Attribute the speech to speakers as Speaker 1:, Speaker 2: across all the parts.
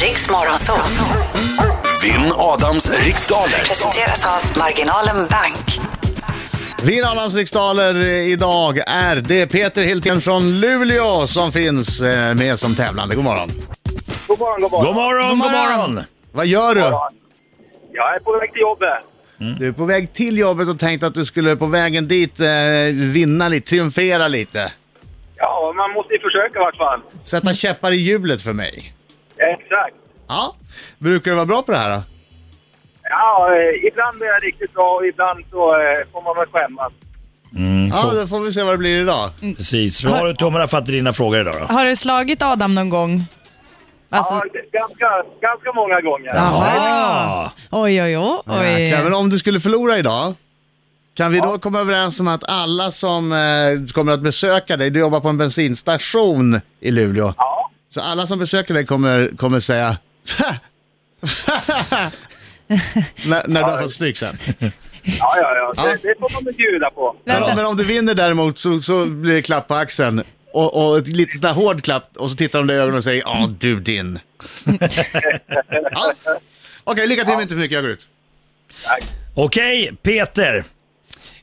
Speaker 1: Riks Morgonzoo.
Speaker 2: Vinn Adams riksdaler.
Speaker 1: Presenteras av Marginalen Bank.
Speaker 3: Vinnarnas riksdaler eh, idag är det Peter Hiltén från Luleå som finns eh, med som tävlande. God morgon.
Speaker 4: God morgon, god morgon.
Speaker 5: God morgon, god morgon!
Speaker 3: Vad gör du?
Speaker 4: Jag är på väg till jobbet.
Speaker 3: Du är på väg till jobbet och tänkte att du skulle på vägen dit eh, vinna lite, triumfera lite.
Speaker 4: Ja, man måste ju försöka i vart fall.
Speaker 5: Mm.
Speaker 3: Sätta käppar i hjulet för mig.
Speaker 4: Exakt.
Speaker 3: Ja, brukar du vara bra på det här då?
Speaker 4: Ja, eh, ibland är jag riktigt bra och ibland så eh, får man väl skämmas.
Speaker 5: Mm,
Speaker 3: Ja, då får vi se vad det blir idag.
Speaker 5: Precis, vi har tummarna för att dina frågor idag då.
Speaker 6: Har du slagit Adam någon gång? Alltså,
Speaker 4: Ja, g- ganska, ganska många gånger.
Speaker 5: Jaha.
Speaker 6: oj, oj, oj. oj.
Speaker 3: Jäklar, men om du skulle förlora idag, kan vi då komma överens om att alla som eh, kommer att besöka dig, du jobbar på en bensinstation i Luleå.
Speaker 4: Ja.
Speaker 3: Så alla som besöker dig kommer, kommer säga när, när du har fått stryk sen.
Speaker 4: Ja, ja, ja.
Speaker 3: Ja.
Speaker 4: Det, det får man väl bjuda på.
Speaker 3: Men, om- men om du vinner däremot så, så blir det klapp på axeln och, och ett lite sån här hård klapp och så tittar de dig i ögonen och säger ja du din. ja. Okej, lycka till men inte för mycket, jag går ut.
Speaker 5: Okej, Peter.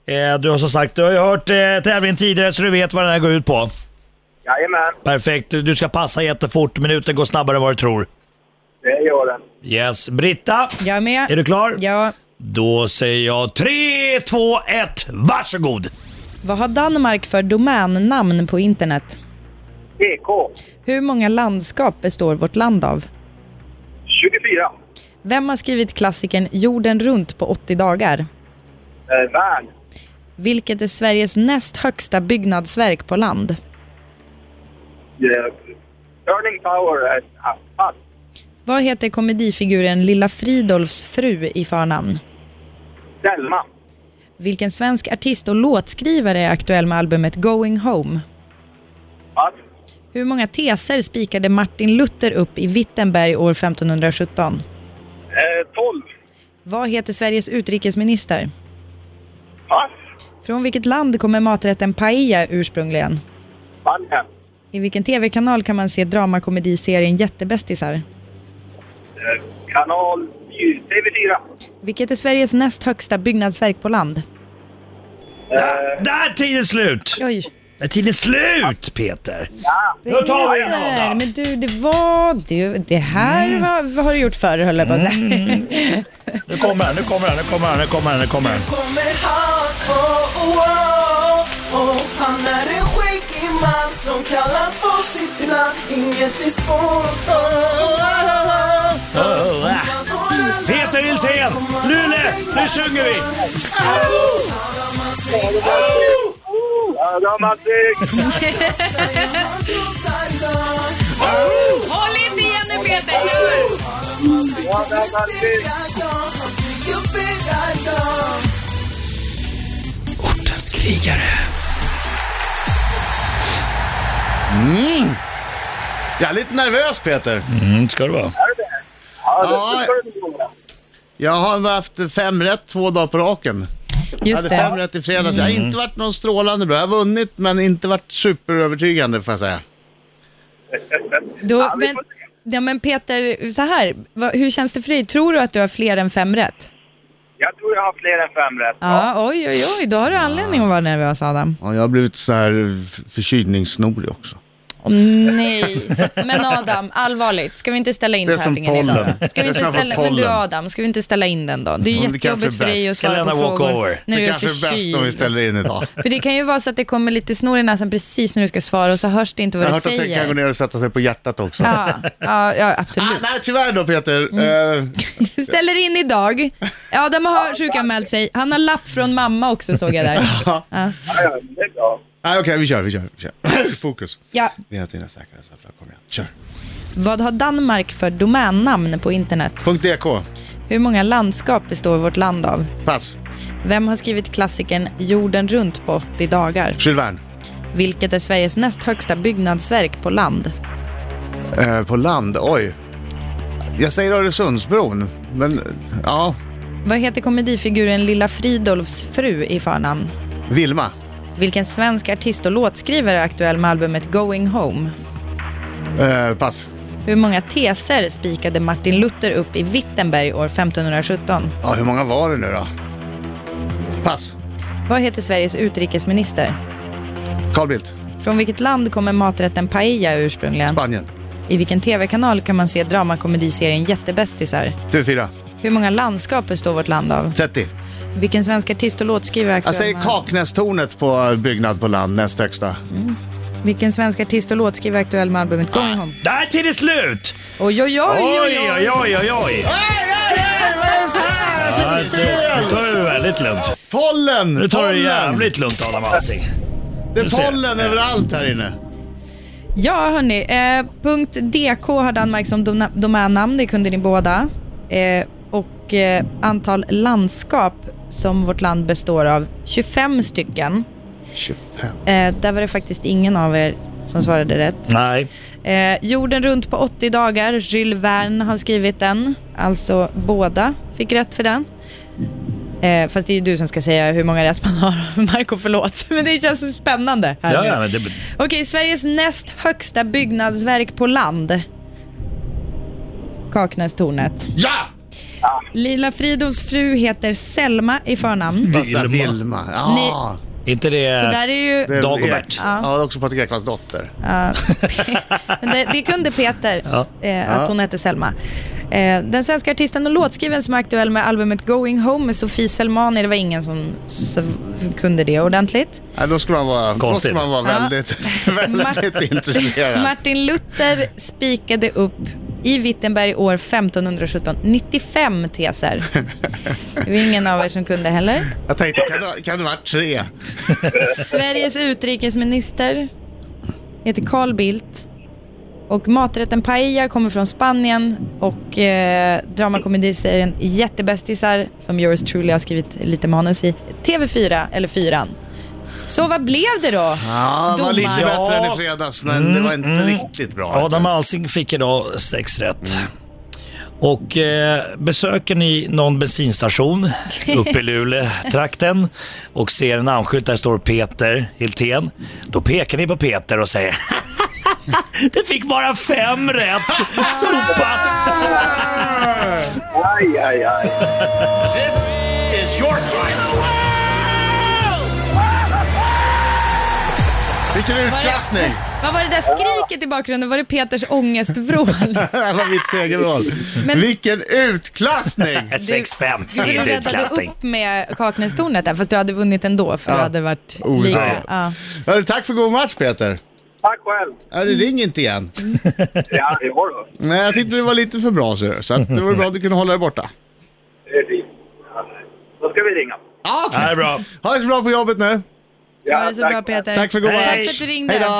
Speaker 5: Eh, du har som sagt, du har ju hört eh, tävlingen tidigare så du vet vad den här går ut på.
Speaker 4: Jajamän,
Speaker 5: Perfekt, du ska passa jättefort. Minuten går snabbare än vad du tror.
Speaker 4: det gör den.
Speaker 5: Yes, Britta.
Speaker 6: Jag är med.
Speaker 5: Är du klar?
Speaker 6: Ja.
Speaker 5: Då säger jag 3, 2, 1, varsågod!
Speaker 6: Vad har Danmark för domännamn på internet?
Speaker 4: EK.
Speaker 6: Hur många landskap består vårt land av?
Speaker 4: 24.
Speaker 6: Vem har skrivit klassikern Jorden runt på 80 dagar?
Speaker 4: Eh, Värn.
Speaker 6: Vilket är Sveriges näst högsta byggnadsverk på land?
Speaker 4: Eh, Turning Tower. Eh, ah, pass.
Speaker 6: Vad heter komedifiguren Lilla Fridolfs fru i förnamn?
Speaker 4: Selma.
Speaker 6: Vilken svensk artist och låtskrivare är aktuell med albumet Going Home?
Speaker 4: Pass.
Speaker 6: Hur många teser spikade Martin Luther upp i Wittenberg år 1517?
Speaker 4: Eh, 12.
Speaker 6: Vad heter Sveriges utrikesminister?
Speaker 4: Pass.
Speaker 6: Från vilket land kommer maträtten paella ursprungligen?
Speaker 4: Spanien.
Speaker 6: I vilken tv-kanal kan man se dramakomediserien Jättebästisar?
Speaker 4: Eh, kanal 4. TV4.
Speaker 6: Vilket är Sveriges näst högsta byggnadsverk på land?
Speaker 5: Där, tiden slut!
Speaker 6: Oj,
Speaker 5: Är tiden slut, Peter?
Speaker 6: Peter!
Speaker 5: Nu tar vi en Mm. Adam.
Speaker 6: Men du, det var... Det, det här var, vad har du gjort förr, höll jag på att säga.
Speaker 5: Mm. Nu kommer han, nu kommer han, nu kommer han, nu kommer han, nu kommer han.
Speaker 7: kommer han, oh, oh, oh, oh. Han är en skäggig man som kallas på sitt namn Inget är svårt, oh,
Speaker 5: Oh, ah.
Speaker 7: han har alla
Speaker 5: Peter Hiltén,
Speaker 7: svar.
Speaker 5: Luleå, nu sjunger vi!
Speaker 4: Ja, då har man snyggt.
Speaker 7: Han krossar dem.
Speaker 6: Håll inte igen nu, Peter! Kör!
Speaker 4: Ja, då har man snyggt.
Speaker 7: Segrar dem. Han tycker bäddar dem.
Speaker 3: Jag är lite nervös Peter.
Speaker 5: Mm, ska det vara.
Speaker 4: Ja, det- det ska det nog vara.
Speaker 3: Jag har haft fem rätt två dagar på raken.
Speaker 6: Just
Speaker 3: jag hade fem
Speaker 6: det.
Speaker 3: rätt i fredags. Jag har inte varit någon strålande bra. Jag har vunnit men inte varit superövertygande får jag säga.
Speaker 6: Då,
Speaker 4: vi
Speaker 6: men,
Speaker 4: får
Speaker 6: ja, men Peter, så här, vad- hur känns det för dig? Tror du att du har fler än fem rätt?
Speaker 4: Jag tror jag har fler än fem rätt.
Speaker 6: Ja, oj, oj, oj, då har du anledning att vara nervös, Adam.
Speaker 3: Ja, jag har blivit så här f- förkylningssnorig också.
Speaker 6: nej, men Adam, allvarligt, ska vi inte ställa in
Speaker 3: Det är som
Speaker 6: tävlingen idag?
Speaker 3: pollen.
Speaker 6: Ska vi
Speaker 3: Det är
Speaker 6: inte
Speaker 3: som
Speaker 6: ställa,
Speaker 3: pollen.
Speaker 6: men du Adam, ska vi inte ställa in den då? Det är
Speaker 3: Mm,
Speaker 6: ju
Speaker 3: det kanske
Speaker 6: jätteljobbigt för
Speaker 3: är
Speaker 6: dig att
Speaker 3: bäst.
Speaker 6: svara på
Speaker 5: Kalena walk
Speaker 6: frågor
Speaker 5: over.
Speaker 6: när
Speaker 3: det
Speaker 6: du är
Speaker 3: kanske är bäst om vi
Speaker 6: förkyld.
Speaker 3: ställer in idag.
Speaker 6: För det kan ju vara så att det kommer lite snor i näsan precis när du ska svara och så hörs det inte
Speaker 3: Jag
Speaker 6: vad
Speaker 3: har
Speaker 6: du
Speaker 3: hört att den kan gå
Speaker 6: säger.
Speaker 3: ner och sätta sig på hjärtat också.
Speaker 6: Ja, ja, ja, absolut. Mm.
Speaker 3: Ah, nej, tyvärr då Peter. Eh,
Speaker 6: Ställer in idag. Adam har sjukanmält sig. Han har lapp från mamma också såg jag där.
Speaker 4: Ja, ja, det är bra.
Speaker 3: nej, okej, vi kör, vi kör. Vi kör. Fokus.
Speaker 6: Ja.
Speaker 3: Vi har dina säkerhetsapplåd. Kom igen, kör.
Speaker 6: Vad har Danmark för domännamn på internet?
Speaker 3: Punkt DK.
Speaker 6: Hur många landskap består vårt land av?
Speaker 3: Pass.
Speaker 6: Vem har skrivit klassikern Jorden runt på 80 dagar?
Speaker 3: Jules Verne.
Speaker 6: Vilket är Sveriges näst högsta byggnadsverk på land?
Speaker 3: Eh, på land, oj. Jag säger Öresundsbron, men ja.
Speaker 6: Vad heter komedifiguren Lilla Fridolfs fru i förnamn?
Speaker 3: Vilma.
Speaker 6: Vilken svensk artist och låtskrivare är aktuell med albumet Going Home?
Speaker 3: Eh, pass.
Speaker 6: Hur många teser spikade Martin Luther upp i Wittenberg år 1517?
Speaker 3: Ja, hur många var det nu då? Pass.
Speaker 6: Vad heter Sveriges utrikesminister?
Speaker 3: Carl Bildt.
Speaker 6: Från vilket land kommer maträtten paella ursprungligen?
Speaker 3: Spanien.
Speaker 6: I vilken tv-kanal kan man se dramakomediserien Jättebästisar?
Speaker 3: TV4.
Speaker 6: Hur många landskap består vårt land av?
Speaker 3: 30.
Speaker 6: Vilken svensk artist och låtskrivare är aktuell
Speaker 3: Jag säger
Speaker 6: med-
Speaker 3: Kaknästornet på byggnad på land, näst högsta.
Speaker 6: Vilken svensk artist och låtskrivare är aktuell med albumet Going Home?
Speaker 5: Där till det slut!
Speaker 6: Oj, oj, Ah. oj, oj, oj.
Speaker 5: oj, oj, oj. Ja, då- då är det väldigt lugnt.
Speaker 3: Pollen!
Speaker 5: Nu tar du
Speaker 3: pollen.
Speaker 5: det jävligt lugnt Adam Alsing.
Speaker 3: Det
Speaker 5: Du
Speaker 3: är
Speaker 5: ser.
Speaker 3: pollen överallt här inne.
Speaker 6: Ja, hörni. Eh, punkt .dk hade anmärkt som dona- domännamn, det kunde ni båda. Eh, och eh, antal landskap som vårt land består av, 25 stycken.
Speaker 3: 25.
Speaker 6: Eh, där var det faktiskt ingen av er som svarade rätt.
Speaker 5: Nej.
Speaker 6: Eh, jorden runt på 80 dagar, Jules Verne har skrivit den. Alltså båda fick rätt för den. Eh, fast det är ju du som ska säga hur många rätt man har, Marco förlåt. Men det känns så spännande. Här
Speaker 5: Ja,
Speaker 6: nu.
Speaker 5: ja, men det,
Speaker 6: Okej, Sveriges näst högsta byggnadsverk på land. Kaknästornet.
Speaker 3: Ja!
Speaker 6: Lila Fridolfs fru heter Selma i
Speaker 5: Mm.
Speaker 6: förnamn.
Speaker 3: Vilma.
Speaker 5: Vilma.
Speaker 3: Vilma. Ja,
Speaker 5: inte det...
Speaker 6: Så där är ju...
Speaker 3: det är
Speaker 5: Dagobert.
Speaker 3: Ek. Ja, det är också Patrik Ekwalls dotter.
Speaker 6: Men det, det kunde Peter, eh, att hon hette Selma. Eh, den svenska artisten och låtskrivaren som är aktuell med albumet Going Home med Sofie Selmani, det var ingen som sv- kunde det ordentligt.
Speaker 3: Ja, då skulle man vara, då
Speaker 5: Konstigt.
Speaker 3: skulle man vara
Speaker 6: Ja.
Speaker 3: väldigt, väldigt
Speaker 6: Mart-
Speaker 3: intresserad.
Speaker 6: Martin Luther spikade upp i Wittenberg år 1517 95 teser. Det var ingen av er som kunde heller.
Speaker 3: Jag tänkte, kan det, kan det vara tre?
Speaker 6: Sveriges utrikesminister heter Carl Bildt. Och maträtten paella kommer från Spanien och eh, dramakomediserien Jättebästisar, som yours truly har skrivit lite manus i, TV4, eller Fyran. Så vad blev det då?
Speaker 3: Ja, det var lite
Speaker 6: Domar.
Speaker 3: bättre än i fredags, men det var inte
Speaker 5: Mm,
Speaker 3: riktigt bra. liksom.
Speaker 5: Adam Alsing fick idag sex rätt. Och eh, besöker ni någon bensinstation uppe i Luleå-trakten och ser en namnskylt där det står Peter Hiltén, då pekar ni på Peter och säger Det fick bara fem rätt! Sopa!
Speaker 4: Aj, aj, aj.
Speaker 3: Vilken utklassning!
Speaker 6: Vad var det där skriket i bakgrunden? Var det Peters ångestvrål?
Speaker 3: Det här var mitt segerval.
Speaker 6: Men-
Speaker 3: Vilken utklassning!
Speaker 5: Ett
Speaker 6: Du-
Speaker 5: 6-5,
Speaker 6: Du
Speaker 5: inte
Speaker 6: räddade
Speaker 5: utklassning.
Speaker 6: upp med Kaknästornet där, fast du hade vunnit ändå för du hade varit lika.
Speaker 3: Osäker.
Speaker 6: Ja.
Speaker 3: Hörru, tack för god match Peter.
Speaker 4: Tack själv.
Speaker 3: Ja, det ring inte igen.
Speaker 4: Ja, det var det.
Speaker 3: Nej, jag tyckte du var lite för bra så, så att det var bra att du kunde hålla dig borta.
Speaker 4: Det är fint. Ja, Då ska vi ringa.
Speaker 3: Ja,
Speaker 5: Ja,
Speaker 3: okej.
Speaker 5: det är bra.
Speaker 3: Ha det så bra på jobbet nu.
Speaker 4: Ja,
Speaker 6: Ha det så
Speaker 4: tack
Speaker 6: bra
Speaker 4: själv.
Speaker 6: Peter.
Speaker 3: Tack för god
Speaker 5: Hej.
Speaker 6: Tack
Speaker 3: match.
Speaker 6: för att du ringde.
Speaker 3: Hej då!